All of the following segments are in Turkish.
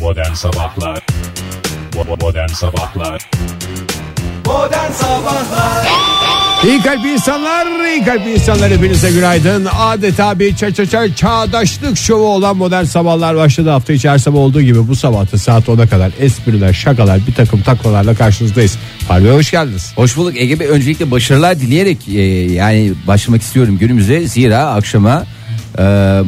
Modern Sabahlar Bo- Modern Sabahlar İyi kalp insanlar, iyi kalp insanlar hepinize günaydın. Adeta bir ça ça ça çağdaşlık şovu olan modern sabahlar başladı. Hafta içi her sabah olduğu gibi bu sabah da saat 10'a kadar espriler, şakalar, bir takım taklalarla karşınızdayız. Harbi hoş geldiniz. Hoş bulduk Ege Bey. Öncelikle başarılar dileyerek e, yani başlamak istiyorum günümüze. Zira akşama e,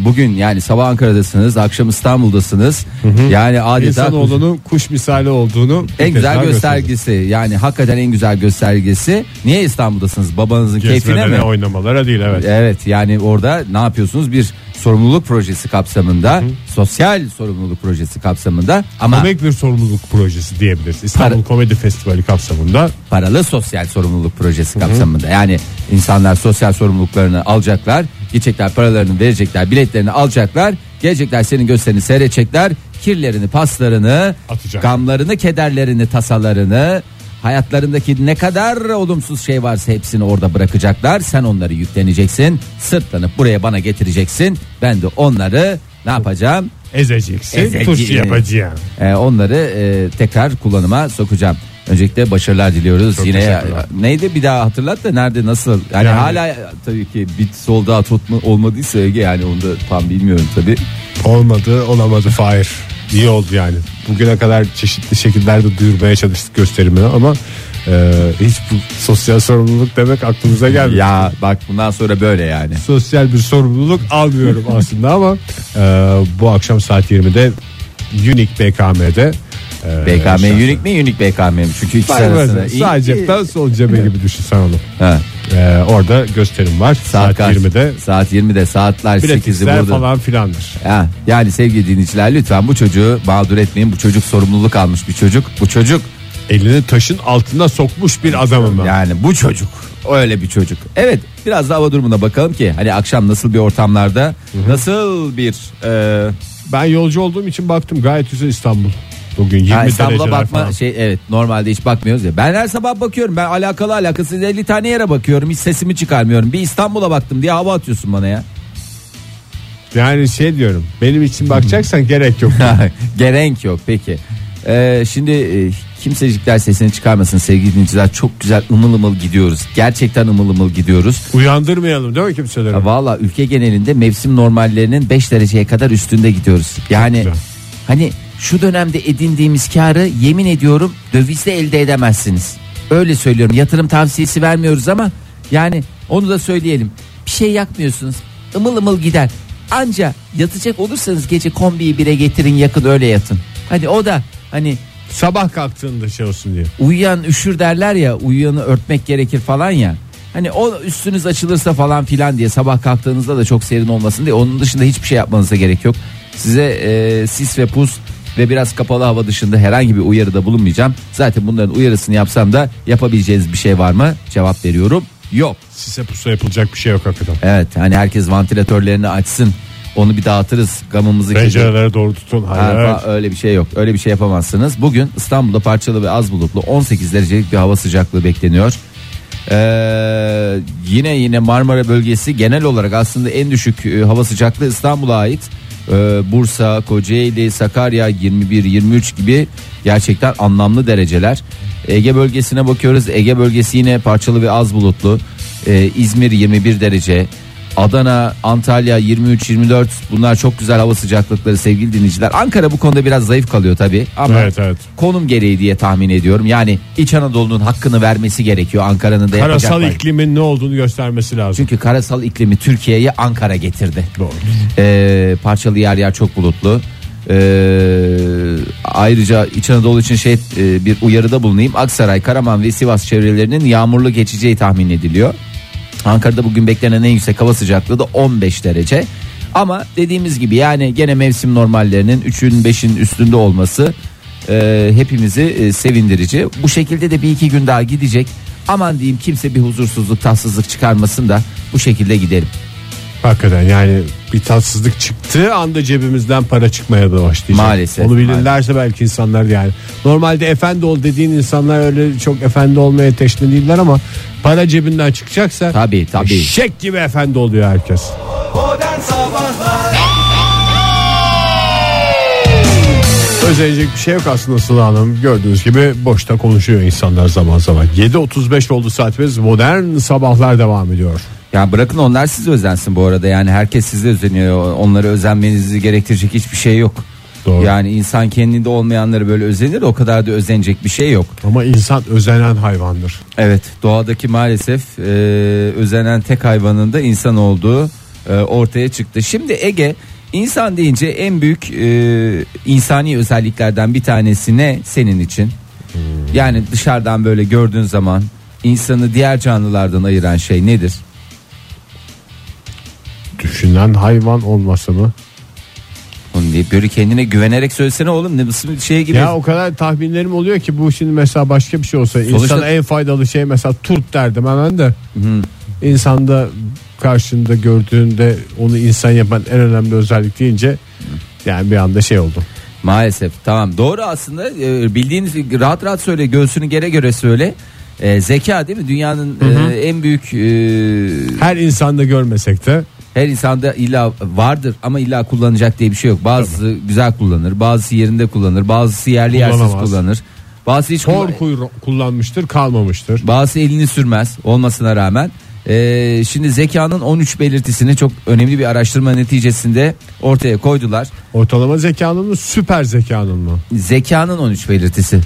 bugün yani sabah Ankara'dasınız, akşam İstanbul'dasınız. Yani adeta İnsanoğlunun kuş misali olduğunu bir en kez daha güzel gösterdi. göstergesi. Yani hakikaten en güzel göstergesi. Niye İstanbul'dasınız? Babanızın keyfine mi? Gezmelere, oynamalara değil evet. Evet yani orada ne yapıyorsunuz? Bir sorumluluk projesi kapsamında, sosyal sorumluluk projesi kapsamında ama Komik bir sorumluluk projesi diyebiliriz. İstanbul Para- Komedi Festivali kapsamında paralı sosyal sorumluluk projesi kapsamında. Yani insanlar sosyal sorumluluklarını alacaklar, gidecekler paralarını verecekler, biletlerini alacaklar, gelecekler senin gösterini seyredecekler, kirlerini, paslarını, Atacaklar. gamlarını, kederlerini, tasalarını, hayatlarındaki ne kadar olumsuz şey varsa hepsini orada bırakacaklar. Sen onları yükleneceksin, sırtlanıp buraya bana getireceksin. Ben de onları ne yapacağım? ezeceksin, Ezeceğim. tuş yapacaksın. Ee, onları e, tekrar kullanıma sokacağım. Öncelikle başarılar diliyoruz. Çok Yine e, teşekkürler. neydi bir daha hatırlat da nerede nasıl? Yani, Yani- hala tabii ki bit solda tutma olmadıysa Ege yani onu da tam bilmiyorum tabii. Olmadı olamadı Fahir. İyi oldu yani. Bugüne kadar çeşitli şekillerde duyurmaya çalıştık gösterimini ama e, hiç bu sosyal sorumluluk demek aklımıza gelmedi. Ya bak bundan sonra böyle yani. Sosyal bir sorumluluk almıyorum aslında ama e, bu akşam saat 20'de Unique BKM'de e, BKM şarkı- Unique mi Unique BKM mi? Çünkü ikisi Hayır, arasında. hayır, Sadece da sol cebe gibi düşün sen onu. Ha, E, orada gösterim var saat, saat, kaç? 20'de. Saat 20'de saatler 8'i Biletler burada. falan filandır. Ha, yani sevgili dinleyiciler lütfen bu çocuğu mağdur etmeyin. Bu çocuk sorumluluk almış bir çocuk. Bu çocuk Elini taşın altına sokmuş bir adamım ben. Yani bu çocuk öyle bir çocuk. Evet biraz da hava durumuna bakalım ki hani akşam nasıl bir ortamlarda nasıl bir e, Ben yolcu olduğum için baktım gayet güzel İstanbul. Bugün 20 yani dereceler İstanbul'a bakma falan. şey evet normalde hiç bakmıyoruz ya. Ben her sabah bakıyorum ben alakalı alakasız 50 tane yere bakıyorum hiç sesimi çıkarmıyorum. Bir İstanbul'a baktım diye hava atıyorsun bana ya. Yani şey diyorum benim için bakacaksan gerek yok. Gerek yok peki. E, şimdi e, kimsecikler sesini çıkarmasın sevgili dinleyiciler çok güzel ımıl ımıl gidiyoruz. Gerçekten ımıl ımıl gidiyoruz. Uyandırmayalım değil mi kimseleri? Ya Valla ülke genelinde mevsim normallerinin 5 dereceye kadar üstünde gidiyoruz. Yani güzel. hani şu dönemde edindiğimiz karı yemin ediyorum dövizle elde edemezsiniz. Öyle söylüyorum yatırım tavsiyesi vermiyoruz ama yani onu da söyleyelim. Bir şey yakmıyorsunuz ımıl ımıl gider. Anca yatacak olursanız gece kombiyi bire getirin yakın öyle yatın. Hani o da hani Sabah kalktığında şey olsun diye. uyuyan üşür derler ya uyuyanı örtmek gerekir falan ya. Hani o üstünüz açılırsa falan filan diye sabah kalktığınızda da çok serin olmasın diye onun dışında hiçbir şey yapmanıza gerek yok. Size e, sis ve pus ve biraz kapalı hava dışında herhangi bir uyarıda bulunmayacağım. Zaten bunların uyarısını yapsam da yapabileceğiniz bir şey var mı? Cevap veriyorum. Yok. Sise pusa yapılacak bir şey yok hakikaten. Evet hani herkes vantilatörlerini açsın. Onu bir dağıtırız gamımızı. Pencerelere doğru tutun. Ha, Hayır. fa- Öyle bir şey yok. Öyle bir şey yapamazsınız. Bugün İstanbul'da parçalı ve az bulutlu 18 derecelik bir hava sıcaklığı bekleniyor. Ee, yine yine Marmara bölgesi genel olarak aslında en düşük e, hava sıcaklığı İstanbul'a ait. Ee, Bursa, Kocaeli, Sakarya 21-23 gibi gerçekten anlamlı dereceler. Ege bölgesine bakıyoruz. Ege bölgesi yine parçalı ve az bulutlu. Ee, İzmir 21 derece. Adana, Antalya 23-24 bunlar çok güzel hava sıcaklıkları sevgili dinleyiciler. Ankara bu konuda biraz zayıf kalıyor tabii ama Evet, evet. konum gereği diye tahmin ediyorum. Yani İç Anadolu'nun hakkını vermesi gerekiyor Ankara'nın da yapacak. Karasal var. iklimin ne olduğunu göstermesi lazım. Çünkü karasal iklimi Türkiye'ye Ankara getirdi. Doğru. Ee, parçalı yer yer çok bulutlu. Ee, ayrıca İç Anadolu için şey e, bir uyarıda bulunayım. Aksaray, Karaman ve Sivas çevrelerinin yağmurlu geçeceği tahmin ediliyor. Ankara'da bugün beklenen en yüksek hava sıcaklığı da 15 derece. Ama dediğimiz gibi yani gene mevsim normallerinin 3'ün 5'in üstünde olması e, hepimizi e, sevindirici. Bu şekilde de bir iki gün daha gidecek. Aman diyeyim kimse bir huzursuzluk, tatsızlık çıkarmasın da bu şekilde gidelim. Hakikaten yani bir tatsızlık çıktığı anda cebimizden para çıkmaya da başlayacak. Maalesef, Onu bilirlerse belki insanlar yani. Normalde efendi ol dediğin insanlar öyle çok efendi olmaya teşne değiller ama para cebinden çıkacaksa Tabii tabii. Şek gibi efendi oluyor herkes. Özelecek bir şey yok aslında Sıla Hanım. Gördüğünüz gibi boşta konuşuyor insanlar zaman zaman. 7.35 oldu saatimiz. Modern sabahlar devam ediyor. Ya bırakın onlar size özensin bu arada. Yani herkes size özeniyor. Onlara özenmenizi gerektirecek hiçbir şey yok. Doğru. Yani insan kendinde olmayanları böyle özenir. O kadar da özenecek bir şey yok. Ama insan özenen hayvandır. Evet doğadaki maalesef e, özenen tek hayvanın da insan olduğu e, ortaya çıktı. Şimdi Ege insan deyince en büyük e, insani özelliklerden bir tanesi ne senin için? Yani dışarıdan böyle gördüğün zaman insanı diğer canlılardan ayıran şey nedir? Düşünen hayvan olması mı? Onu diye böyle kendine güvenerek söylesene oğlum ne nasıl bir şey gibi. Ya o kadar tahminlerim oluyor ki bu şimdi mesela başka bir şey olsa insana en faydalı şey mesela turp derdim hemen de. İnsanda karşında gördüğünde onu insan yapan en önemli özellik deyince yani bir anda şey oldu. Maalesef tamam doğru aslında e, bildiğiniz rahat rahat söyle göğsünü gere göre söyle. E, zeka değil mi dünyanın e, en büyük e, Her insanda görmesek de Her insanda illa vardır ama illa kullanacak diye bir şey yok. Bazısı güzel kullanır, bazısı yerinde kullanır, bazısı yerli yersiz Kullanamaz. kullanır. Bazısı hiç hor kullan- kuyru- kullanmıştır kalmamıştır. bazısı elini sürmez olmasına rağmen. Ee, şimdi zekanın 13 belirtisini çok önemli bir araştırma neticesinde ortaya koydular. Ortalama zekanın mı süper zekanın mı? Zekanın 13 belirtisi.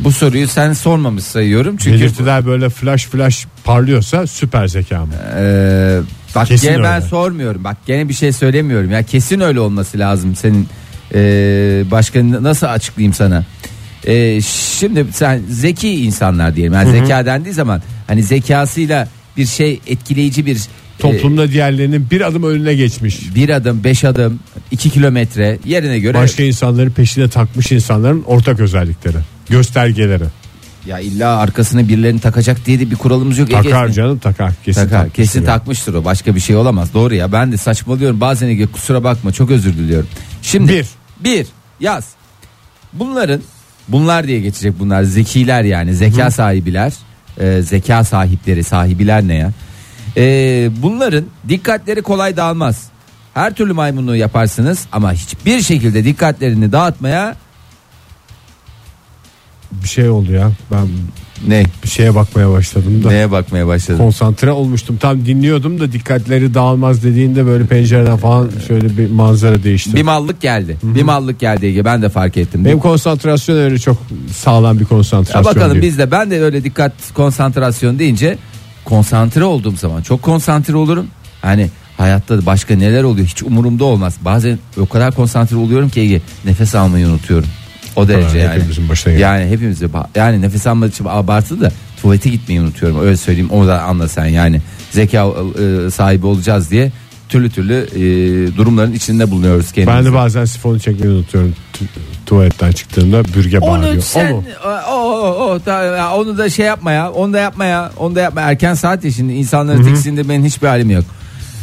Bu soruyu sen sormamış sayıyorum çünkü Belirtiler böyle flash flash parlıyorsa süper zeka mı? Ee, bak Kesin gene ben öyle. sormuyorum. Bak gene bir şey söylemiyorum. Ya kesin öyle olması lazım senin. Ee, başka n- nasıl açıklayayım sana? Ee, şimdi sen zeki insanlar diyelim. Yani zeka dendiği zaman hani zekasıyla bir şey etkileyici bir Toplumda diğerlerinin bir adım önüne geçmiş. e, bir adım, beş adım, iki kilometre yerine göre Başka insanları peşine takmış insanların ortak özellikleri, göstergeleri. ya illa arkasına birilerini takacak diye de bir kuralımız yok. Takar Ege'sin. canım takar kesin Takar, takmıştır kesin ya. takmıştır o. Başka bir şey olamaz. Doğru ya. Ben de saçmalıyorum. Bazen Ege kusura bakma. Çok özür diliyorum. Şimdi Bir. bir yaz. Bunların bunlar diye geçecek bunlar. Zekiler yani. Zeka sahibiler. e, zeka sahipleri, sahibiler ne ya? E, bunların dikkatleri kolay dağılmaz. Her türlü maymunluğu yaparsınız ama hiçbir şekilde dikkatlerini dağıtmaya Bir şey oldu ya ben ne? bir şeye bakmaya başladım da. Neye bakmaya başladım? Konsantre olmuştum tam dinliyordum da dikkatleri dağılmaz dediğinde böyle pencereden falan şöyle bir manzara değişti. Bir mallık geldi. Bir mallık geldi Ege. Ben de fark ettim. Benim konsantrasyon öyle çok sağlam bir konsantrasyon Ya değil. bakalım biz de ben de öyle dikkat konsantrasyon deyince konsantre olduğum zaman çok konsantre olurum. Hani hayatta başka neler oluyor hiç umurumda olmaz. Bazen o kadar konsantre oluyorum ki Ege, nefes almayı unutuyorum. O derece yani. hepimizin başına geliyor. yani hepimiz yani nefes almak için abartılı da tuvalete gitmeyi unutuyorum. Öyle söyleyeyim o da anla sen yani. Zeka e, sahibi olacağız diye türlü türlü e, durumların içinde bulunuyoruz kendimizi. Ben de bazen sifonu çekmeyi unutuyorum tu- tuvaletten çıktığımda bürge bağırıyor. Onu sen O mu? o, o, o, da- ya onu da şey yapma ya. Onu da yapma ya. Onu da yapma. Erken saat ya şimdi insanları tiksindirmenin hiçbir halim yok.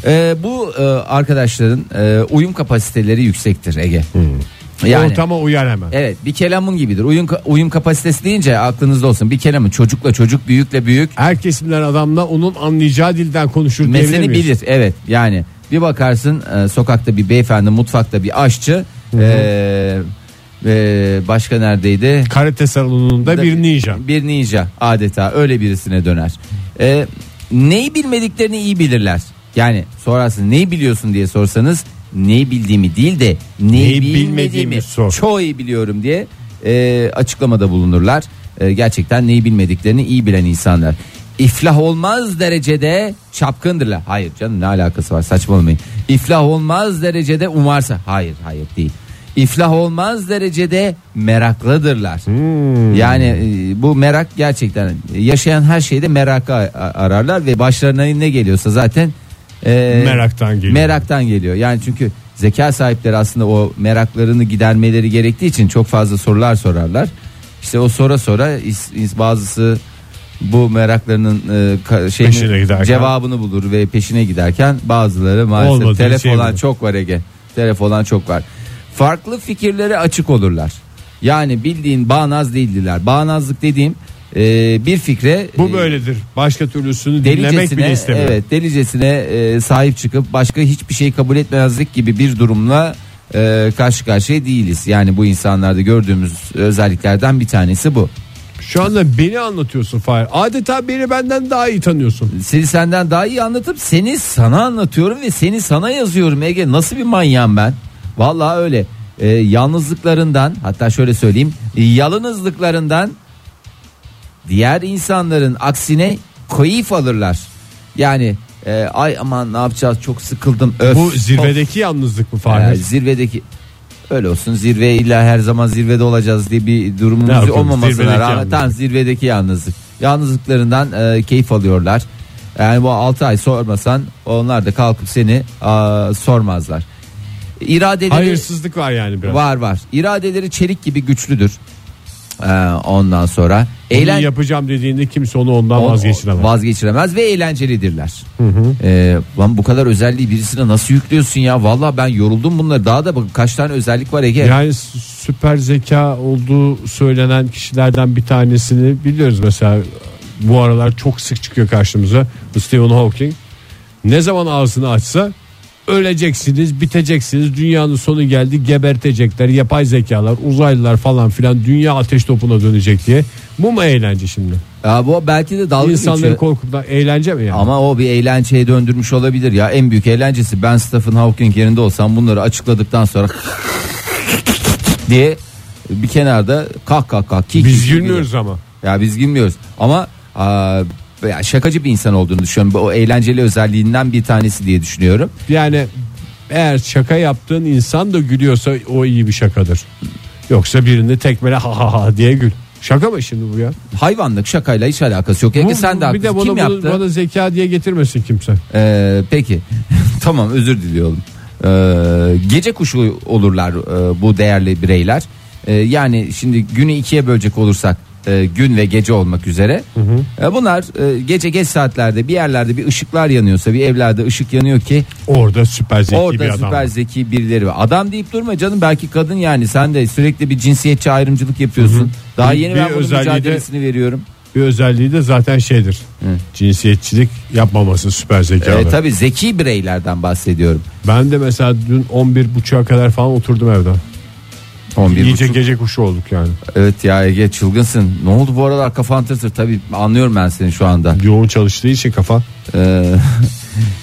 Ee, bu e, arkadaşların e, uyum kapasiteleri yüksektir Ege. Yani E- Ortama uyar hemen. evet bir kelamın gibidir. Uyum ka- uyum kapasitesi deyince aklınızda olsun. Bir kelamın çocukla çocuk, büyükle büyük. Her kesimden adamla onun anlayacağı dilden konuşur diyebilir Mesleğini miyiz? bilir. Evet. Yani bir bakarsın e, sokakta bir beyefendi, mutfakta bir aşçı. e, e, başka neredeydi? Karate salonunda bir ninja. Bir ninja adeta öyle birisine döner. Ee, neyi bilmediklerini iyi bilirler. Yani sorarsın neyi biliyorsun diye sorsanız neyi bildiğimi değil de neyi, Neyi bilmediğimi bilmediğimi sor. çok iyi biliyorum diye e, açıklamada bulunurlar. E, gerçekten neyi bilmediklerini iyi bilen insanlar. İflah olmaz derecede çapkındırlar. Hayır canım ne alakası var saçmalamayın. İflah olmaz derecede umarsa. Hayır hayır değil. İflah olmaz derecede meraklıdırlar. Hmm. Yani e, bu merak gerçekten e, yaşayan her şeyde meraka a- ararlar ve başlarına ne geliyorsa zaten e, Meraktan geliyor. Meraktan geliyor. Yani çünkü zeka sahipleri aslında o meraklarını gidermeleri gerektiği için çok fazla sorular sorarlar. İşte o sonra sonra is- is- bazısı bu meraklarının e, ka- şeyini- Peşine giderken. cevabını bulur ve peşine giderken bazıları maalesef Olmadığı telef şey olan bu. çok var Ege. Telef olan çok var. Farklı fikirlere açık olurlar. Yani bildiğin bağnaz değildiler. Bağnazlık dediğim e, bir fikre Bu e, böyledir. Başka türlüsünü dinlemek bile delicesine istemiyor. evet delicesine e, sahip çıkıp başka hiçbir şey kabul etmezlik gibi bir durumla e, karşı karşıya değiliz. Yani bu insanlarda gördüğümüz özelliklerden bir tanesi bu. Şu anda beni anlatıyorsun Fahir. Adeta beni benden daha iyi tanıyorsun. Seni senden daha iyi anlatıp seni sana anlatıyorum ve seni sana yazıyorum Ege. Nasıl bir manyağım ben? Vallahi öyle. E, yalnızlıklarından hatta şöyle söyleyeyim. e, Yalınızlıklarından diğer insanların aksine keyif alırlar. Yani e, ay aman ne yapacağız çok sıkıldım. Öf, Bu zirvedeki yalnızlık mı Ya, Fahir? zirvedeki öyle olsun zirve illa her zaman zirvede olacağız diye bir durumumuz Ne yapıyoruz? olmamasına Zirvedeki rağmen yalnızlık. tam zirvedeki yalnızlık. Yalnızlıklarından e, keyif alıyorlar. Yani bu 6 ay sormasan onlar da kalkıp seni a, sormazlar. İradeleri Hayırsızlık var yani biraz. var var. İradeleri çelik gibi güçlüdür. E, ondan sonra Bunu eğlen yapacağım dediğinde kimse onu ondan o- vazgeçiremez. vazgeçiremez ve eğlencelidirler. Ee, lan bu kadar özelliği birisine nasıl yüklüyorsun ya? Vallahi ben yoruldum bunları. Daha da bak kaç tane özellik var Ege. yani s- süper zeka olduğu söylenen kişilerden bir tanesini biliyoruz mesela bu aralar çok sık çıkıyor karşımıza Stephen Hawking ne zaman ağzını açsa öleceksiniz biteceksiniz dünyanın sonu geldi gebertecekler yapay zekalar uzaylılar falan filan dünya ateş topuna dönecek diye bu mu eğlence şimdi Ya bu belki de dalga İnsanları geçiyor. korkudan eğlence mi yani Ama o bir eğlenceye döndürmüş olabilir ya. En büyük eğlencesi ben Stephen Hawking yerinde olsam bunları açıkladıktan sonra diye bir kenarda kalk kalk kalk. kik biz kik kik gülmüyoruz ama Ya biz gülmüyoruz ama aa, ya şakacı bir insan olduğunu düşünüyorum. Bu O eğlenceli özelliğinden bir tanesi diye düşünüyorum. Yani eğer şaka yaptığın insan da gülüyorsa o iyi bir şakadır. Yoksa birini tekmele ha ha ha diye gül. Şaka mı şimdi bu ya? Hayvanlık şakayla hiç alakası yok. Ege Bu- sen de bir haklısın. de Kim bana, bunu- yaptı? bana zeka diye getirmesin kimse. Ee, peki tamam özür diliyorum. Ee, gece kuşu olurlar e, bu değerli bireyler. Ee, yani şimdi günü ikiye bölecek olursak e, gün ve gece olmak üzere. E, bunlar e, gece geç saatlerde bir yerlerde bir ışıklar yanıyorsa bir evlerde ışık yanıyor ki Orada süper zeki orada bir adam. süper zeki birileri var. Adam deyip durma canım belki kadın yani sen de sürekli bir cinsiyetçi ayrımcılık yapıyorsun. Daha Bir- yeni bir ben bunun özelliği de- mücadelesini veriyorum. Bir özelliği de zaten şeydir. Cinsiyetçilik yapmaması süper zekalı. E, tabii zeki bireylerden bahsediyorum. ben de mesela dün 11.30'a kadar falan oturdum evde. 11 İyice gece kuşu olduk yani. Evet ya Ege çılgınsın. Ne oldu bu aralar kafan tır tır. Tabii anlıyorum ben seni şu anda. Yoğun çalıştığı için kafa. Ee,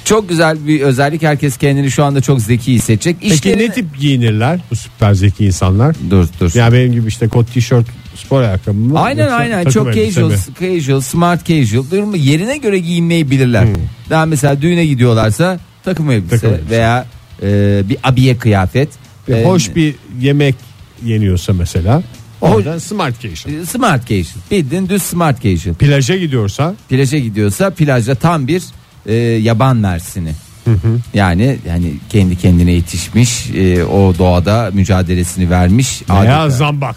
çok güzel bir özellik. Herkes kendini şu anda çok zeki hissedecek. Peki İşlerini... ne tip giyinirler bu süper zeki insanlar? Dur dur. Ya benim gibi işte kot tişört spor ayakkabı mı? Aynen Yoksa aynen takım çok elbise casual, mi? Hmm. casual, smart casual. Durum bu. yerine göre giyinmeyi bilirler. Daha mesela düğüne gidiyorlarsa takım elbise, Takım elbise. veya e, bir abiye kıyafet. Bir E, hoş bir yemek yeniyorsa mesela. Oradan smart casual. e, smart casual. Bildiğin düz smart casual. Plaja gidiyorsa plaja gidiyorsa plajda tam bir e, yaban mersini. Yani yani kendi kendine yetişmiş, e, o doğada mücadelesini vermiş. veya adeta. zambak.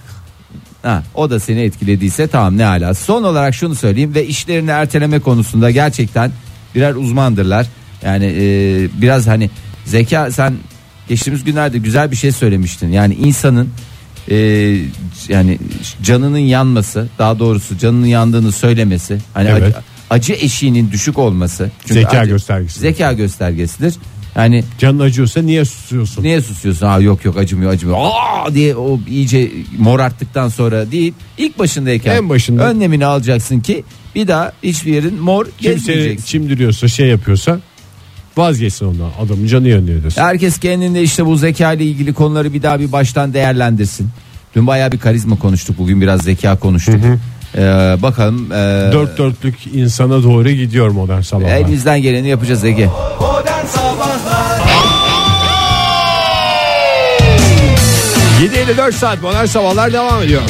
Ha, o da seni etkilediyse tamam ne ala. Son olarak şunu söyleyeyim ve işlerini erteleme konusunda gerçekten birer uzmandırlar. Yani e, biraz hani zeka sen geçtiğimiz günlerde güzel bir şey söylemiştin. Yani insanın e, yani canının yanması daha doğrusu canının yandığını söylemesi. Hani Evet. acı, acı eşiğinin düşük olması. Zeka göstergesi. Zeka göstergesidir. Yani Canın acıyorsa niye susuyorsun? Niye susuyorsun? Aa yok yok acımıyor acımıyor. Aa diye o iyice morarttıktan sonra değil. ilk başındayken En başında. önlemini alacaksın ki bir daha hiçbir yerin mor Kim seni gezmeyeceksin. çimdiriyorsa şey yapıyorsa vazgeçsin ondan. Adamın canı yanıyor diyorsun. Herkes kendinde işte bu zeka ile ilgili konuları bir daha bir baştan değerlendirsin. Dün bayağı bir karizma konuştuk. Bugün biraz zeka konuştuk. Ee, bakalım. ee, Dört dörtlük insana doğru gidiyor modern sabahlar. Elimizden geleni yapacağız Ege. Modern Sabahlar 7.54 saat modern sabahlar devam ediyor.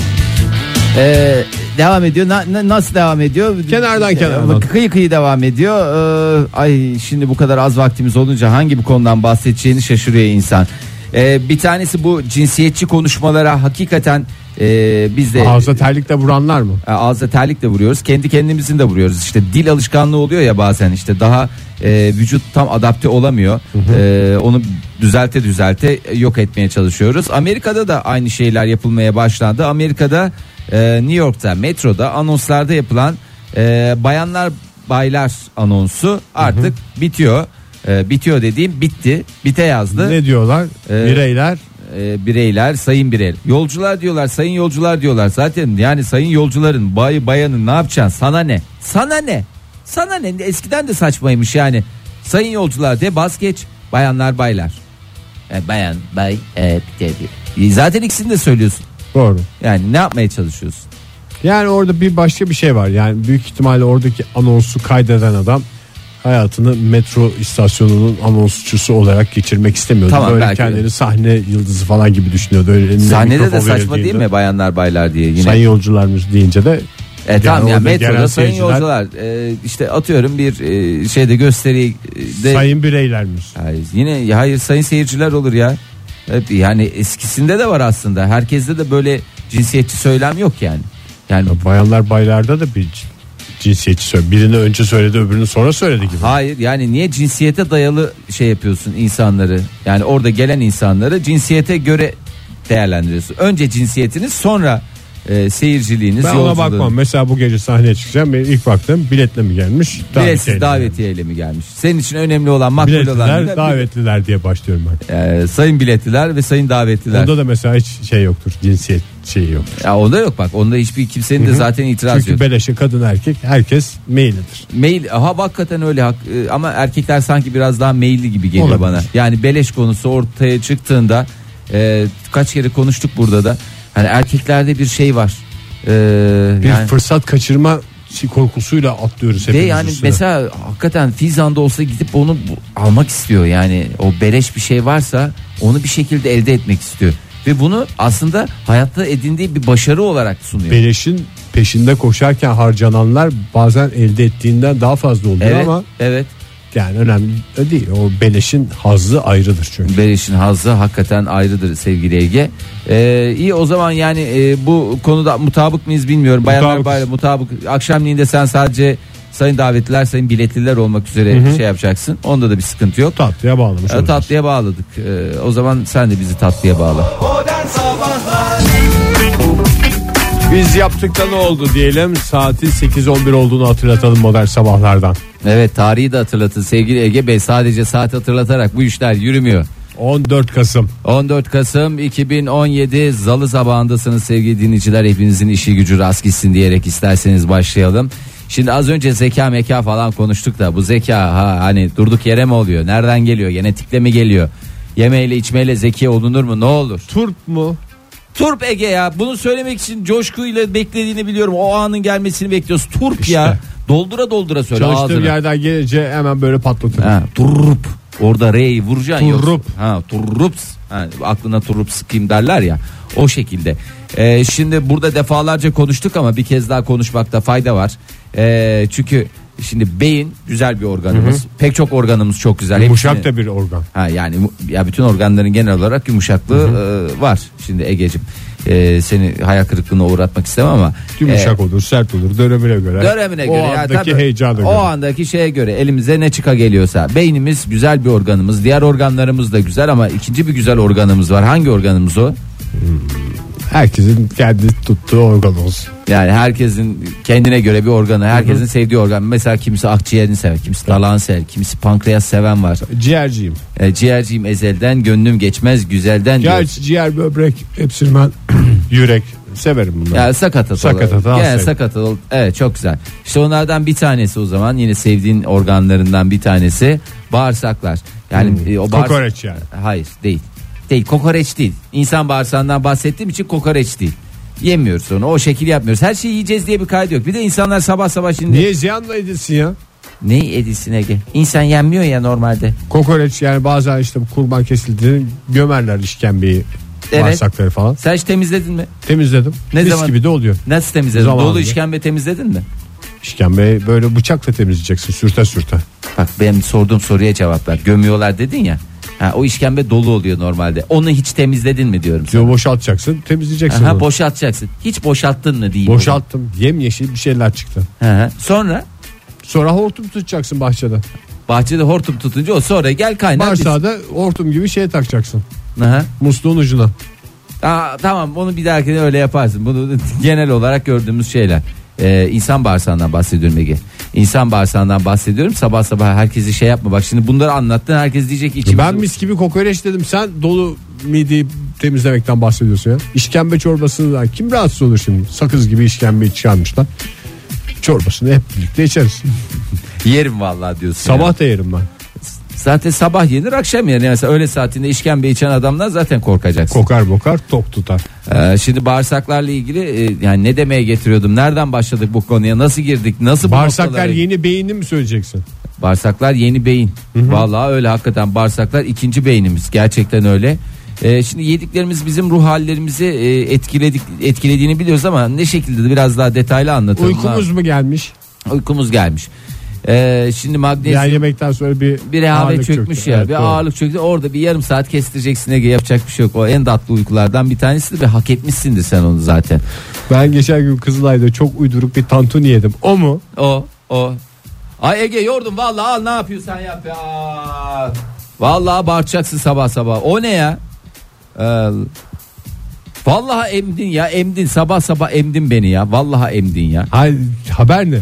Ee, devam ediyor. Na- na- nasıl devam ediyor? Kenardan Ee, kenardan. Kıyı kıyı devam ediyor. Ee, ay şimdi bu kadar az vaktimiz olunca hangi bir konudan bahsedeceğini şaşırıyor insan. Ee, bir tanesi bu cinsiyetçi konuşmalara hakikaten e, biz de Ağza terlikle vuranlar mı? e, ağza terlikle vuruyoruz. Kendi kendimizin de vuruyoruz. İşte dil alışkanlığı oluyor ya bazen işte daha e, vücut tam adapte olamıyor. E, onu düzelte düzelte yok etmeye çalışıyoruz. Amerika'da da aynı şeyler yapılmaya başlandı. Amerika'da e, New York'ta metroda anonslarda yapılan e, bayanlar baylar anonsu artık bitiyor. E, bitiyor dediğim bitti. Bite yazdı. Ne diyorlar? Ee, Bireyler e, bireyler sayın birey. Yolcular diyorlar sayın yolcular diyorlar. Zaten yani sayın yolcuların bayı bayanın ne yapacaksın sana ne? Sana ne? Sana ne? Eskiden de saçmaymış yani. Sayın yolcular de bas geç bayanlar baylar. E, bayan bay e, bir de bir. E, zaten ikisini de söylüyorsun. Doğru. Yani ne yapmaya çalışıyorsun? Yani orada bir başka bir şey var. Yani büyük ihtimalle oradaki anonsu kaydeden adam hayatını metro istasyonunun anonsçusu olarak geçirmek istemiyordu. Tamam, Böyle belki de. kendini sahne yıldızı falan gibi düşünüyordu. Öyle elinde Sahnede de mikrofon saçma değil verildiğinde, mi bayanlar baylar diye yine. Sayın yolcularımız deyince de E tamam ya orada gelen metroda sayın seyirciler, yolcular e, işte atıyorum bir e, şeyde gösteri e, de Sayın bireylerimiz. Hayır, yine ya hayır sayın seyirciler olur ya. Hep yani eskisinde de var aslında. Herkeste de böyle cinsiyetçi söylem yok yani. Yani Bayanlar baylarda da bir cinsiyetçi söyledi. Birini önce söyledi öbürünü sonra söyledi gibi. hayır yani niye cinsiyete dayalı şey yapıyorsun insanları? Yani orada gelen insanları cinsiyete göre değerlendiriyorsun. Önce cinsiyetiniz sonra e, seyirciliğiniz Ben ona yolculuğunuz. bakmam. Mesela bu gece sahneye çıkacağım. Benim ilk baktığım biletle mi gelmiş? Biletsiz davetiyeyle mi davetiyeyle mi gelmiş? Senin için önemli olan makbul gelmiş? olan Biletliler, davetliler diye başlıyorum ben. E, sayın biletliler ve sayın davetliler. Onda da mesela hiç şey yoktur. Cinsiyet şeyi yok. Ya onda yok bak. Onda hiçbir kimsenin de zaten itiraz Çünkü yok. beleşe kadın erkek herkes meyillidir. Mail ha hakikaten öyle hak, e, ama erkekler sanki biraz daha meyilli gibi geliyor Olabilir. bana. Yani beleş konusu ortaya çıktığında e, kaç kere konuştuk burada da. Hani erkeklerde bir şey var. E, Bir yani, fırsat kaçırma korkusuyla atlıyoruz ve hepimiz yani üstüne. mesela hakikaten Fizan'da olsa gidip onu bu- almak istiyor. Yani o beleş bir şey varsa onu bir şekilde elde etmek istiyor. Ve bunu aslında hayatta edindiği bir başarı olarak sunuyor. Beleşin peşinde koşarken harcananlar bazen elde ettiğinden daha fazla oluyor evet, ama evet. yani önemli değil. O beleşin hazzı ayrıdır çünkü. Beriş'in hazzı hakikaten ayrıdır sevgili Ege. Ee, iyi o zaman yani e, bu konuda mutabık mıyız bilmiyorum. Bayanlar Mutabıkız. bay, mutabık. Akşamleyin de sen sadece sayın davetliler, sayın biletliler olmak üzere şey yapacaksın. Onda da bir sıkıntı yok. Tatlıya bağlamış Ee, oluruz. tatlıya bağladık. Ee, o zaman sen de bizi tatlıya bağla. Modern Sabahlar Biz yaptık da ne oldu diyelim. Saati 8.11 olduğunu hatırlatalım modern sabahlardan. Evet tarihi de hatırlatın sevgili Ege Bey. Sadece saat hatırlatarak bu işler yürümüyor. 14 Kasım. 14 Kasım 2017 Zalı sabahındasınız sevgili dinleyiciler. Hepinizin işi gücü rast gitsin diyerek isterseniz başlayalım. Şimdi az önce zeka meka falan konuştuk da bu zeka ha hani durduk yere mi oluyor? Nereden geliyor? Genetikle mi geliyor? Yemeyle içmeyle zeki olunur mu? Ne olur? Turp mu? Turp Ege ya bunu söylemek için coşkuyla beklediğini biliyorum. O anın gelmesini bekliyoruz. Turp ya. Doldura doldura söyle Çalıştığım ağzına. yerden gelince hemen böyle patlatır. Ha, turrup. Orada re'yi vuracaksın. yoksa- Turrup. Ha, turrups. Ha, aklına turrup sıkayım derler ya. O şekilde. Ee, şimdi burada defalarca konuştuk ama bir kez daha konuşmakta fayda var. Ee, çünkü şimdi beyin güzel bir organımız. Pek çok organımız çok güzel. Yumuşak Hepsini- da bir organ. Ha yani mu- ya bütün organların genel olarak yumuşaklığı e, var. Şimdi Egeciğim e, seni hayal kırıklığına uğratmak istemem ama e, Yumuşak olur, sert olur, dönemine göre. Dönemine o göre ya andaki tabii. heyecana o göre. andaki şeye göre elimize ne çıka geliyorsa beynimiz güzel bir organımız diğer organlarımız da güzel ama ikinci bir güzel organımız var hangi organımız o Herkesin kendi tuttuğu organ olsun. yani herkesin kendine göre bir organı herkesin sevdiği organ mesela kimisi akciğerini sever kimisi dalağını sever kimisi pankreas seven var Ciğerciyim. e, ciğerciğim ezelden gönlüm geçmez güzelden diyor. Gerçi ciğer, böbrek, hepsini ben yürek severim bunları. Ya sakat atalı. Sakat atalı, Gene aferin. sakat atalı. Evet çok güzel. İşte onlardan bir tanesi o zaman yine sevdiğin organlarından bir tanesi bağırsaklar. Yani e, o bağırsak- Hmm. Kokoreç yani. Hayır değil. Değil kokoreç değil. İnsan bağırsağından bahsettiğim için kokoreç değil. Yemiyoruz onu o şekil yapmıyoruz. Her şeyi yiyeceğiz diye bir kaydı yok. Bir de insanlar sabah sabah şimdi Niye ziyanla edilsin ya? ne edilsin Ege? İnsan yenmiyor ya normalde. Kokoreç yani bazen işte bu kurban kesildiğini gömerler işkembeyi. Evet. Bağırsakları falan. Sen hiç temizledin mi? Temizledim. Ne Mis zaman- gibi de oluyor. Nasıl temizledin? Zamanında. Dolu işkembe temizledin mi? İşkembeyi böyle bıçakla temizleyeceksin sürte sürte. Bak benim sorduğum soruya cevap ver. Gömüyorlar dedin ya. Ha, o işkembe dolu oluyor normalde. Onu hiç temizledin mi diyorum. Diyor boşaltacaksın temizleyeceksin Aha, onu. boşaltacaksın. Hiç boşalttın mı diyeyim. Boşalttım. Yemyeşil bir şeyler çıktı. Aha, Sonra Sonra hortum tutacaksın bahçede. bahçede hortum tutunca o sonra gel kaynar. Varsa da hortum gibi şey takacaksın. biz- Aha. Musluğun ucuna. Aa, tamam onu bir dahakine öyle yaparsın. Bunu genel olarak gördüğümüz şeyler. Ee, insan bağırsağından bahsediyorum Ege. İnsan bağırsağından bahsediyorum. Sabah sabah herkesi şey yapma. Bak şimdi bunları anlattın herkes diyecek içimiz. Ben mis gibi kokoreç dedim. Sen dolu midi temizlemekten bahsediyorsun ya? İşkembe çorbasından kim rahatsız olur şimdi? Sakız gibi işkembe çıkarmışlar. Çorbasını hep birlikte içeriz. Yerim vallahi diyorsun. ya. Sabah da yerim ben. Zaten sabah yenir akşam yenir. Yani mesela öğle saatinde işkembe içen adamdan zaten korkacaksın. Kokar bokar tok tutar. Ee, şimdi bağırsaklarla ilgili e, yani ne demeye getiriyordum? Nereden başladık bu konuya? Nasıl girdik? Nasıl bu Bağırsaklar noktalara- yeni beynini mi söyleyeceksin? Bağırsaklar yeni beyin. Vallahi öyle hakikaten bağırsaklar ikinci beynimiz. Gerçekten öyle. Ee, şimdi yediklerimiz bizim ruh hallerimizi e, etkiledik etkilediğini biliyoruz ama ne şekilde de biraz daha detaylı anlatalım. Uykumuz mu gelmiş? uykumuz gelmiş. Ee, şimdi magnezyum Yani yemekten sonra bir, bir rehavet ağırlık çökmüş çöktü. ya. Evet, bir doğru. ağırlık çöktü. Orada bir yarım saat kestireceksin Ege yapacak bir şey yok. O en tatlı uykulardan bir tanesi de hak etmişsindir sen onu zaten. Ben geçen gün Kızılay'da çok uyduruk bir tantuni yedim. O mu? O o. Ay Ege yordum vallahi al ne yapıyorsan yap ya. Vallahi bağıracaksın sabah sabah. O ne ya? Ee, vallahi emdin ya emdin sabah sabah emdin beni ya. Vallahi emdin ya. Hayır, haber ne?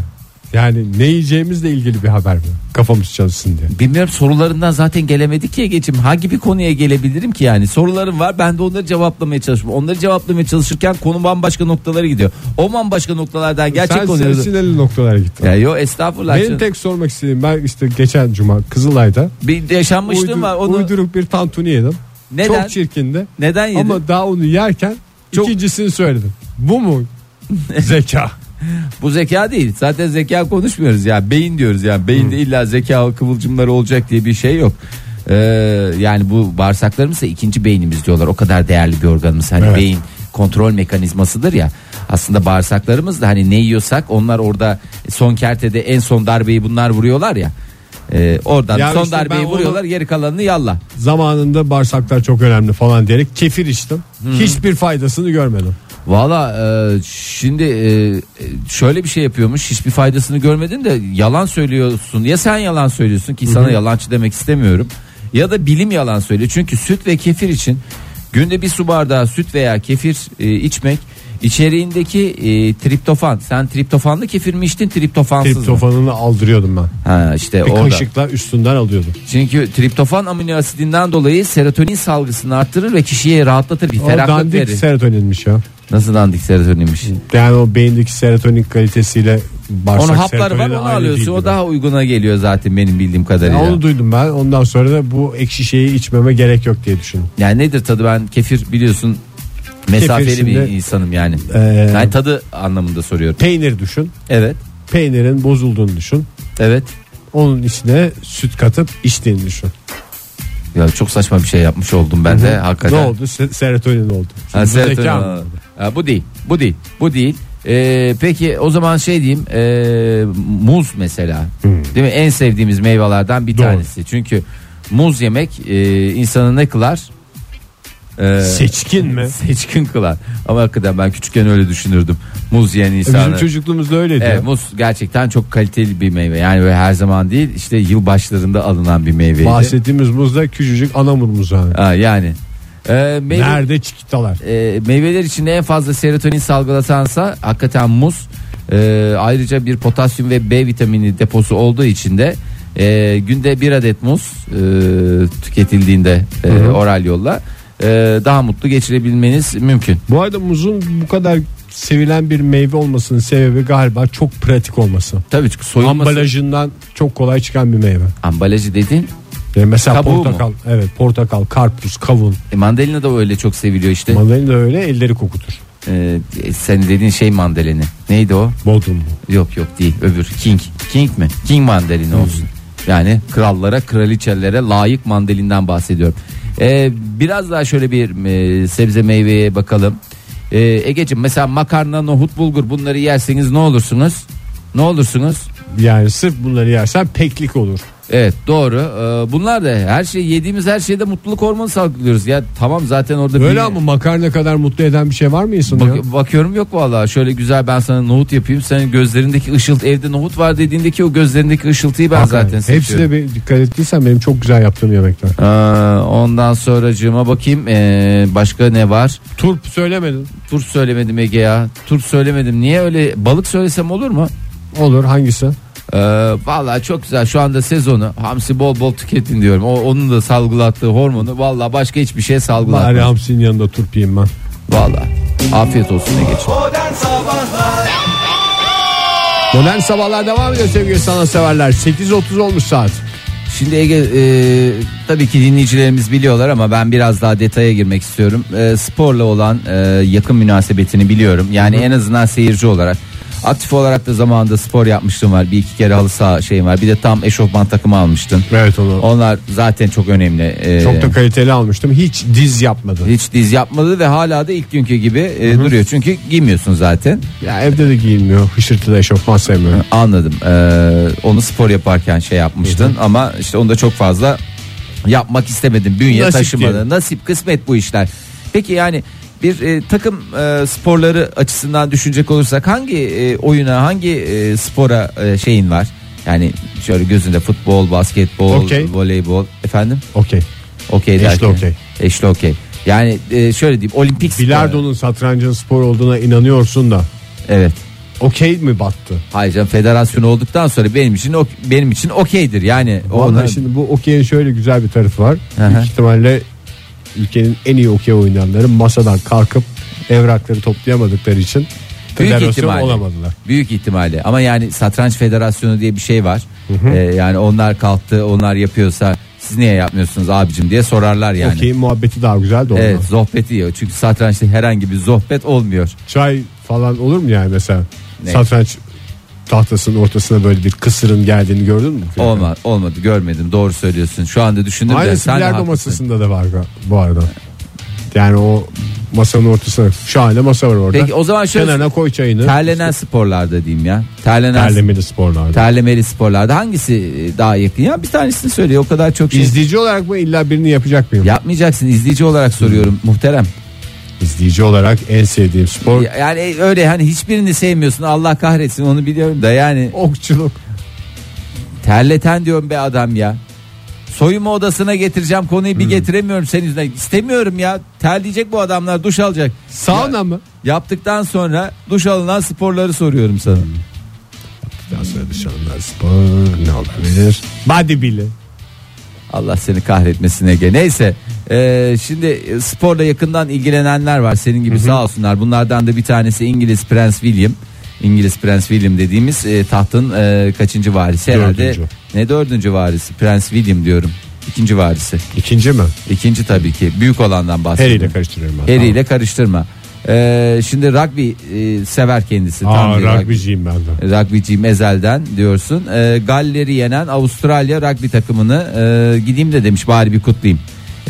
Yani ne yiyeceğimizle ilgili bir haber mi? Kafamız çalışsın diye. Bilmiyorum sorularından zaten gelemedik ya geçim. Hangi bir konuya gelebilirim ki yani? Sorularım var. Ben de onları cevaplamaya çalışıyorum. Onları cevaplamaya çalışırken konu bambaşka noktalara gidiyor. O bambaşka noktalardan gerçek Sen konuya. sen sinirli noktalara gittin. Ya yo estağfurullah. Benim canım. tek sormak istediğim ben işte geçen cuma Kızılay'da Bir yaşanmışlığım uydur- var. Onu uyduruk bir tantuni yedim. Neden? Çok çirkindi. neden yedin? Ama daha onu yerken Çok- ikincisini söyledim. Bu mu? ah, Zeka. Bu zeka değil. Zaten zeka konuşmuyoruz ya. Beyin diyoruz yani. Beyinde illa zeka kıvılcımları olacak diye bir şey yok. Ee, yani bu bağırsaklarımız da ikinci beynimiz diyorlar. O kadar değerli bir organımız. Hani Evet. beyin kontrol mekanizmasıdır ya. Aslında bağırsaklarımız da hani ne yiyorsak onlar orada son kertede en son darbeyi bunlar vuruyorlar ya. Ee, oradan Ya son işte darbeyi ben vuruyorlar geri kalanını yalla. Zamanında bağırsaklar çok önemli falan diyerek kefir içtim. Hmm. Hiçbir faydasını görmedim. Valla e, şimdi e, e, şöyle bir şey yapıyormuş hiçbir faydasını görmedin de yalan söylüyorsun ya sen yalan söylüyorsun ki sana yalancı demek istemiyorum ya da bilim yalan söylüyor çünkü süt ve kefir için günde bir su bardağı süt veya kefir e, içmek içeriğindeki e, triptofan sen triptofanlı kefir mi içtin triptofansız mı? Triptofanını aldırıyordum ben. Ha işte Bir orada. kaşıkla üstünden alıyordum. Çünkü triptofan amino asidinden dolayı serotonin salgısını arttırır ve kişiye rahatlatır bir O ferahlık dandik verir. serotoninmiş ya. Nasıl dandik serotoninmiş? Yani o beyindeki serotonin kalitesiyle bağırsak Onun hapları var serotonini onu aynı alıyorsun. değil O gibi. daha uyguna geliyor zaten benim bildiğim Ya kadarıyla. onu duydum ben. Ondan sonra da bu ekşi şeyi içmeme gerek yok diye düşündüm. Yani nedir tadı ben kefir biliyorsun mesafeli Kefir bir şimdi- insanım yani. Ee, yani tadı anlamında soruyorum. Peynir düşün. Evet. Peynirin bozulduğunu düşün. Evet. Onun içine süt katıp içtiğini düşün. Ya çok saçma bir şey yapmış oldum ben de hakikaten. Ne oldu? Se- serotonin oldu. Ha, Şimdi serotonin zeka mı? alanı. Ha, bu değil. Bu değil. Bu değil. Ee, peki o zaman şey diyeyim ee, muz mesela değil mi en sevdiğimiz meyvelerden bir Doğru. tanesi çünkü muz yemek ee, insanı ne kılar Ee, Seçkin mi? seçkin kılar ama hakikaten ben küçükken öyle düşünürdüm muz yiyen insanı Bizim çocukluğumuzda öyleydi. Evet, ya. muz gerçekten çok kaliteli bir meyve yani böyle her zaman değil işte yıl başlarında alınan bir meyveydi Bahsettiğimiz muz da küçücük anamur muzu. yani. Ha, yani Ee, meyve- Nerede çikitalar? e, meyveler içinde en fazla serotonin salgılatansa hakikaten muz. E, ayrıca bir potasyum ve B vitamini deposu olduğu için de e, günde bir adet muz e, tüketildiğinde e, oral yolla e, daha mutlu geçirebilmeniz mümkün. Bu arada muzun bu kadar sevilen bir meyve olmasının sebebi galiba çok pratik olması. Tabii çünkü soyulması. Ambalajından çok kolay çıkan bir meyve. Ambalajı dedin. Yani mesela Kabuğu mu? portakal, evet portakal, karpuz, kavun. E, mandalina da öyle çok seviliyor işte. Mandalina da öyle elleri kokutur. E, sen dediğin şey mandalini. Neydi o? Bodrum mu? Yok yok değil öbür King. King mi? King mandalini olsun. Yani krallara kraliçelere layık mandalinden bahsediyorum. Ee, biraz daha şöyle bir e, sebze meyveye bakalım. Ee, Egeciğim mesela makarna, nohut, bulgur bunları yerseniz ne olursunuz? Ne olursunuz? Yani sırf bunları yersen peklik olur. Evet doğru. Ee, bunlar da her şey yediğimiz her şeyde mutluluk hormonu salgılıyoruz. Ya tamam zaten orada Öyle bir- ama makarna kadar mutlu eden bir şey var mı insanı ya? Bak- bakıyorum yok vallahi şöyle güzel ben sana nohut yapayım senin gözlerindeki ışıltı evde nohut var dediğindeki o gözlerindeki ışıltıyı ben Hakikaten. zaten Hepsi seçiyorum. de bir dikkat ettiysen benim çok güzel yaptığım yemekler. Aa, ondan sonracığıma bakayım ee, başka ne var? Turp söylemedin. Turp söylemedim Ege ya. Turp söylemedim. Niye öyle balık söylesem olur mu? Olur hangisi? Ee, vallahi çok güzel şu anda sezonu hamsi bol bol tüketin diyorum. O, onun da salgılattığı hormonu vallahi başka hiçbir şey Bari salgılatmaz. hamsinin yanında turpayım ben. Vallahi afiyet olsun ne geçin. Modern Sabahlar Modern sabahlar devam ediyor sevgili sanatseverler. 8.30 olmuş saat. Şimdi Ege e, tabii ki dinleyicilerimiz biliyorlar ama ben biraz daha detaya girmek istiyorum. E, sporla olan e, yakın münasebetini biliyorum. Yani en azından seyirci olarak. Aktif olarak da zamanında spor yapmıştım var. Bir iki kere halı saha şeyim var. Bir de tam eşofman takımı almıştın. Evet onu. Onlar zaten çok önemli. E, Çok da kaliteli almıştım. Hiç diz yapmadı. hiç diz yapmadı ve hala da ilk günkü gibi e, duruyor. Çünkü giymiyorsun zaten. Ya evde de giyilmiyor. Hışırtıda eşofman sevmiyorum. Anladım. Ee, onu spor yaparken şey yapmıştın ama işte onu da çok fazla yapmak istemedin. Bünye Nasip taşımadı. diyelim. Nasip kısmet bu işler. Peki yani bir e, takım e, sporları açısından düşünecek olursak hangi e, oyuna, hangi e, spora e, şeyin var? Yani şöyle gözünde futbol, basketbol, Okey. voleybol efendim. Okey. Okey Eşli derken. okey. Eşli okey. Yani e, şöyle diyeyim olimpik sporu. Bilardo'nun satrancın spor olduğuna inanıyorsun da. Evet. Okey mi battı? Hayır canım federasyon olduktan sonra benim için ok- benim için okeydir. Yani Vallahi ona- şimdi bu okeyin şöyle güzel bir tarafı var. Hı hı. Büyük ihtimalle ülkenin en iyi okey oynayanları masadan kalkıp evrakları toplayamadıkları için federasyon ihtimalle. olamadılar. Büyük ihtimalle ama yani satranç federasyonu diye bir şey var. Ee, yani onlar kalktı onlar yapıyorsa siz niye yapmıyorsunuz abicim diye sorarlar yani. Okeyin muhabbeti daha güzel de olmaz. Evet sohbeti yok çünkü satrançta herhangi bir sohbet olmuyor. Çay falan olur mu yani mesela? Ne? Satranç tahtasının ortasına böyle bir kısırın geldiğini gördün mü? Olmadı, olmadı görmedim doğru söylüyorsun. Şu anda düşündüm de Aynısı sen de bilardo haklısın. masasında da var ga- bu arada. Yani o masanın ortasına şahane masa var orada. Peki o zaman şöyle Kenarına koy çayını. terlenen sporlarda diyeyim ya. Terlenen Terlemeli sporlarda. terlemeli sporlarda hangisi e, daha yakın ya? Bir tanesini söyle o kadar çok şey. İzleyici olarak mı illa birini yapacak mıyım? Yapmayacaksın izleyici olarak soruyorum muhterem. İzleyici olarak en sevdiğim spor Yani öyle hani hiçbirini sevmiyorsun Allah kahretsin onu biliyorum da yani okçuluk. terleten diyorum be adam ya. Soyunma odasına getireceğim konuyu bir Hmm. getiremiyorum senin yüzünden. İstemiyorum ya. Terleyecek bu adamlar duş alacak. Sauna mı? Yaptıktan sonra duş alınan sporları soruyorum sana. Hmm. Daha sonra dışarılar spor ne olabilir? Bodybuilding. Allah seni kahretmesine Ege. Neyse e, şimdi e, sporla yakından ilgilenenler var senin gibi sağ olsunlar. Bunlardan da bir tanesi İngiliz Prens William. İngiliz Prens William dediğimiz e, tahtın e, kaçıncı varisi herhalde? Dördüncü. Ne dördüncü varisi? Prens William diyorum. İkinci varisi. İkinci mi? İkinci tabii ki büyük olandan Harry bahsediyorum. ile karıştırıyorum ben. Harry ile karıştırma. E, şimdi rugby e, sever kendisi. Tamam. bir Aa rugby- rugbyciyim ben de. Rugbyciyim ezelden diyorsun. E, Galler'i yenen Avustralya rugby takımını e, gideyim de demiş bari bir kutlayayım.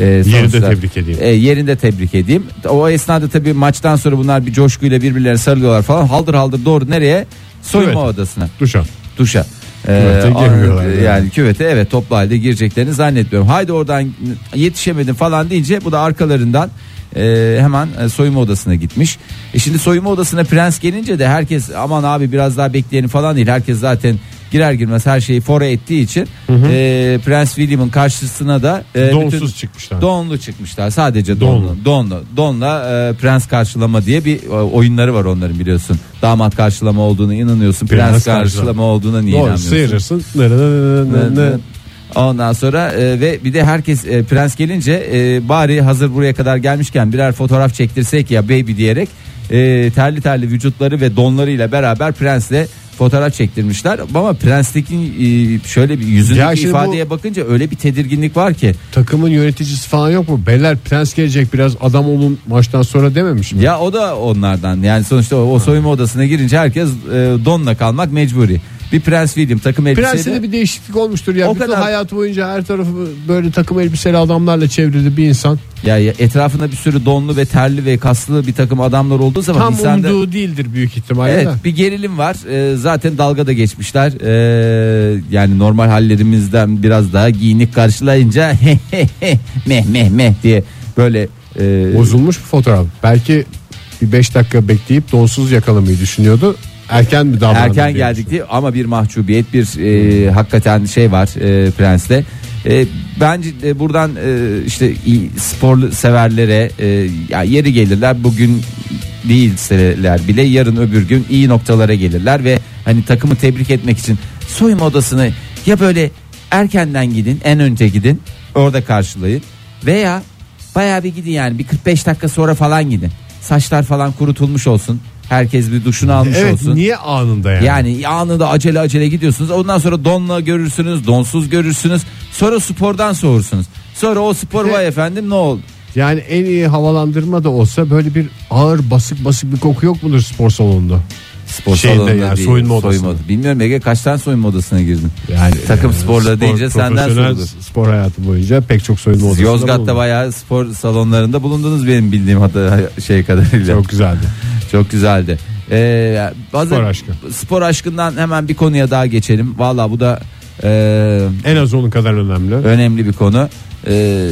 E, sonuçta- tebrik edeyim. E, yerinde tebrik edeyim. O esnada tabii maçtan sonra bunlar bir coşkuyla birbirlerine sarılıyorlar falan. Haldır haldır doğru nereye? Soyunma Evet. odasına Duşa. duşa. Küvete Ee, girmiyorlar an- yani. yani küvete evet toplu halde gireceklerini zannetmiyorum. Haydi oradan yetişemedim falan deyince bu da arkalarından e, hemen e, soyunma odasına gitmiş. E şimdi soyunma odasına prens gelince de herkes aman abi biraz daha bekleyelim falan değil. Herkes zaten girer girmez her şeyi fora ettiği için e, Prens William'ın karşısına da e, Donsuz çıkmışlar. Donlu çıkmışlar. Sadece donlu. Donlu. Donlu. Donla e, prens karşılama diye bir e, oyunları var onların biliyorsun. Damat karşılama olduğunu inanıyorsun. Prens, Prens karşılama, karşılama. olduğuna niye Doğru inanmıyorsun? sıyırırsın. Nı nı nı nı nı nı. Ondan sonra e, ve bir de herkes e, prens gelince e, bari hazır buraya kadar gelmişken birer fotoğraf çektirsek ya baby diyerek e, terli terli vücutları ve donlarıyla beraber prensle fotoğraf çektirmişler. Ama prenstekin e, şöyle bir Ya yüzündeki şimdi bu- ifadeye bakınca öyle bir tedirginlik var ki. Takımın yöneticisi falan yok mu? Beyler prens gelecek biraz adam olun maçtan sonra dememiş mi? Ya o da onlardan yani sonuçta o, o soyunma odasına girince herkes e, donla kalmak mecburi. Bir prens William takım Prens'te elbiseyle de bir değişiklik olmuştur ya. şey O Bütün kadar- hayatı boyunca her tarafı böyle takım elbiseli adamlarla çevrili bir insan. ya, ya etrafında bir sürü donlu ve terli ve kaslı bir takım adamlar olduğu zaman Tam insanda umduğu değildir büyük ihtimalle. Evet de. bir gerilim var E, zaten dalga da geçmişler E, yani normal hallerimizden biraz daha giyinik karşılayınca meh meh meh diye böyle e, Bozulmuş bir fotoğraf. Belki bir 5 dakika bekleyip donsuz yakalamayı düşünüyordu. Erken mi davrandı? erken diye geldik düşünüyorum. diye ama bir mahcubiyet bir e, hakikaten şey var e, Prens'te. E, bence de buradan e, işte iyi sporlu severlere e, ya yeri gelirler bugün değilseler bile yarın öbür gün iyi noktalara gelirler ve hani takımı tebrik etmek için soyunma odasını ya böyle erkenden gidin en önce gidin orada karşılayın veya bayağı bir gidin yani bir 45 dakika sonra falan gidin. Saçlar falan kurutulmuş olsun. Herkes bir duşunu almış Evet olsun. niye anında yani? Yani anında acele acele gidiyorsunuz. Ondan sonra donla görürsünüz, donsuz görürsünüz. Sonra spordan soğursunuz. Sonra o spor Evet. vay efendim ne oldu? Yani en iyi havalandırma da olsa böyle bir ağır basık basık bir koku yok mudur spor salonunda? Spor Şeyde salonunda yani, değil, soyunma odasında. odası. Bilmiyorum Ege kaç tane soyunma odasına girdin? Yani Takım e, sporları spor- deyince senden profesyonel sorulur. Spor hayatı boyunca pek çok soyunma Siz odasında Yozgat'ta bulundum. bayağı spor salonlarında bulundunuz benim bildiğim hatta şey kadarıyla. Çok, Çok güzeldi. güzeldi. Ee, bazen Spor aşkı. Spor aşkından hemen bir konuya daha geçelim. Valla bu da e, En az onun kadar önemli. önemli bir konu. E,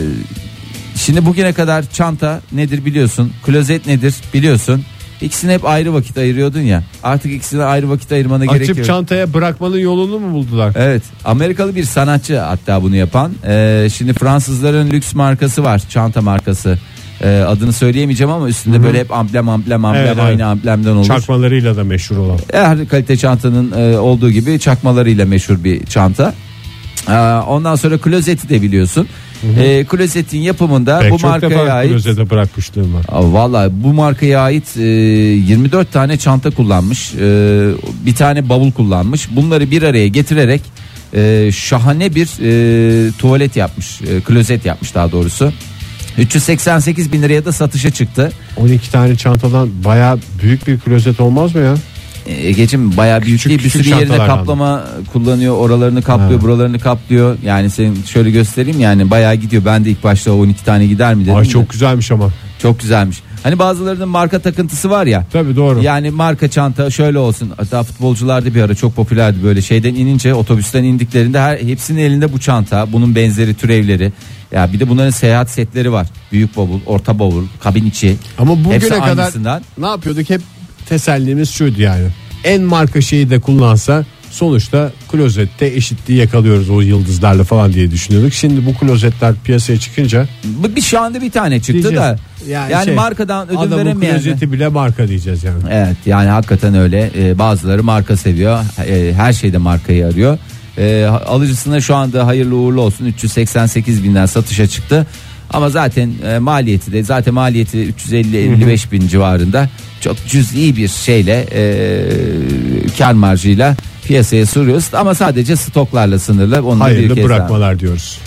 şimdi bugüne kadar çanta nedir biliyorsun. Klozet nedir biliyorsun. İkisini hep ayrı vakit ayırıyordun ya. Artık ikisine ayrı vakit ayırmana gerek yok. Açıp çantaya bırakmanın yolunu mu buldular? Evet Amerikalı bir sanatçı hatta bunu yapan Ee, şimdi Fransızların lüks markası var çanta markası Ee, adını söyleyemeyeceğim ama üstünde böyle hep amblem amblem amblem Evet, aynı evet. amblemden olur. Çakmalarıyla da meşhur olan. Her kalite çantanın e, olduğu gibi çakmalarıyla meşhur bir çanta. Ee, ondan sonra klozeti de biliyorsun. Ee, klozetin yapımında Pek bu çok markaya defa ait klozete bırakmışlığım var. Aa, Valla bu markaya ait e, 24 tane çanta kullanmış. e, bir tane bavul kullanmış. Bunları bir araya getirerek e, şahane bir e, tuvalet yapmış. e, klozet yapmış daha doğrusu. 388 bin liraya da satışa çıktı. 12 tane çantadan baya büyük bir klozet olmaz mı ya? E, Ege'cim bayağı büyük Küçük- değil. Bir küçük sürü yerine çantalar kaplama kullanıyor. Oralarını kaplıyor, Ha. buralarını kaplıyor. Yani senin şöyle göstereyim yani bayağı gidiyor. Ben de ilk başta o 12 tane gider mi dedim. Ay de. çok güzelmiş ama. çok güzelmiş. Hani bazılarının marka takıntısı var ya. Tabii doğru. Yani marka çanta şöyle olsun. Hatta futbolcularda bir ara çok popülerdi böyle şeyden inince otobüsten indiklerinde her hepsinin elinde bu çanta, bunun benzeri türevleri. Ya bir de bunların seyahat setleri var. Büyük bavul, orta bavul, kabin içi. Ama bugüne Hepsi kadar aynısından. ne yapıyorduk hep tesellimiz şuydu yani. En marka şeyi de kullansa sonuçta klozette eşitliği yakalıyoruz o yıldızlarla falan diye düşünüyorduk. Şimdi bu klozetler piyasaya çıkınca Bu bir şu anda bir tane çıktı diyeceğiz. da. Yani, şey, markadan ödün adamın veremeyen. klozeti bile marka diyeceğiz yani. Evet yani hakikaten öyle. Ee, bazıları marka seviyor. Ee, her şeyde markayı arıyor. Ee, alıcısına şu anda hayırlı uğurlu olsun 388 binden satışa çıktı. Ama zaten e, maliyeti de zaten maliyeti 350-55 bin civarında çok cüz'i bir şeyle e, kar marjıyla piyasaya sürüyoruz. Ama sadece stoklarla sınırlı. Onu da bir Hayırlı kez daha- bırakmalar diyoruz.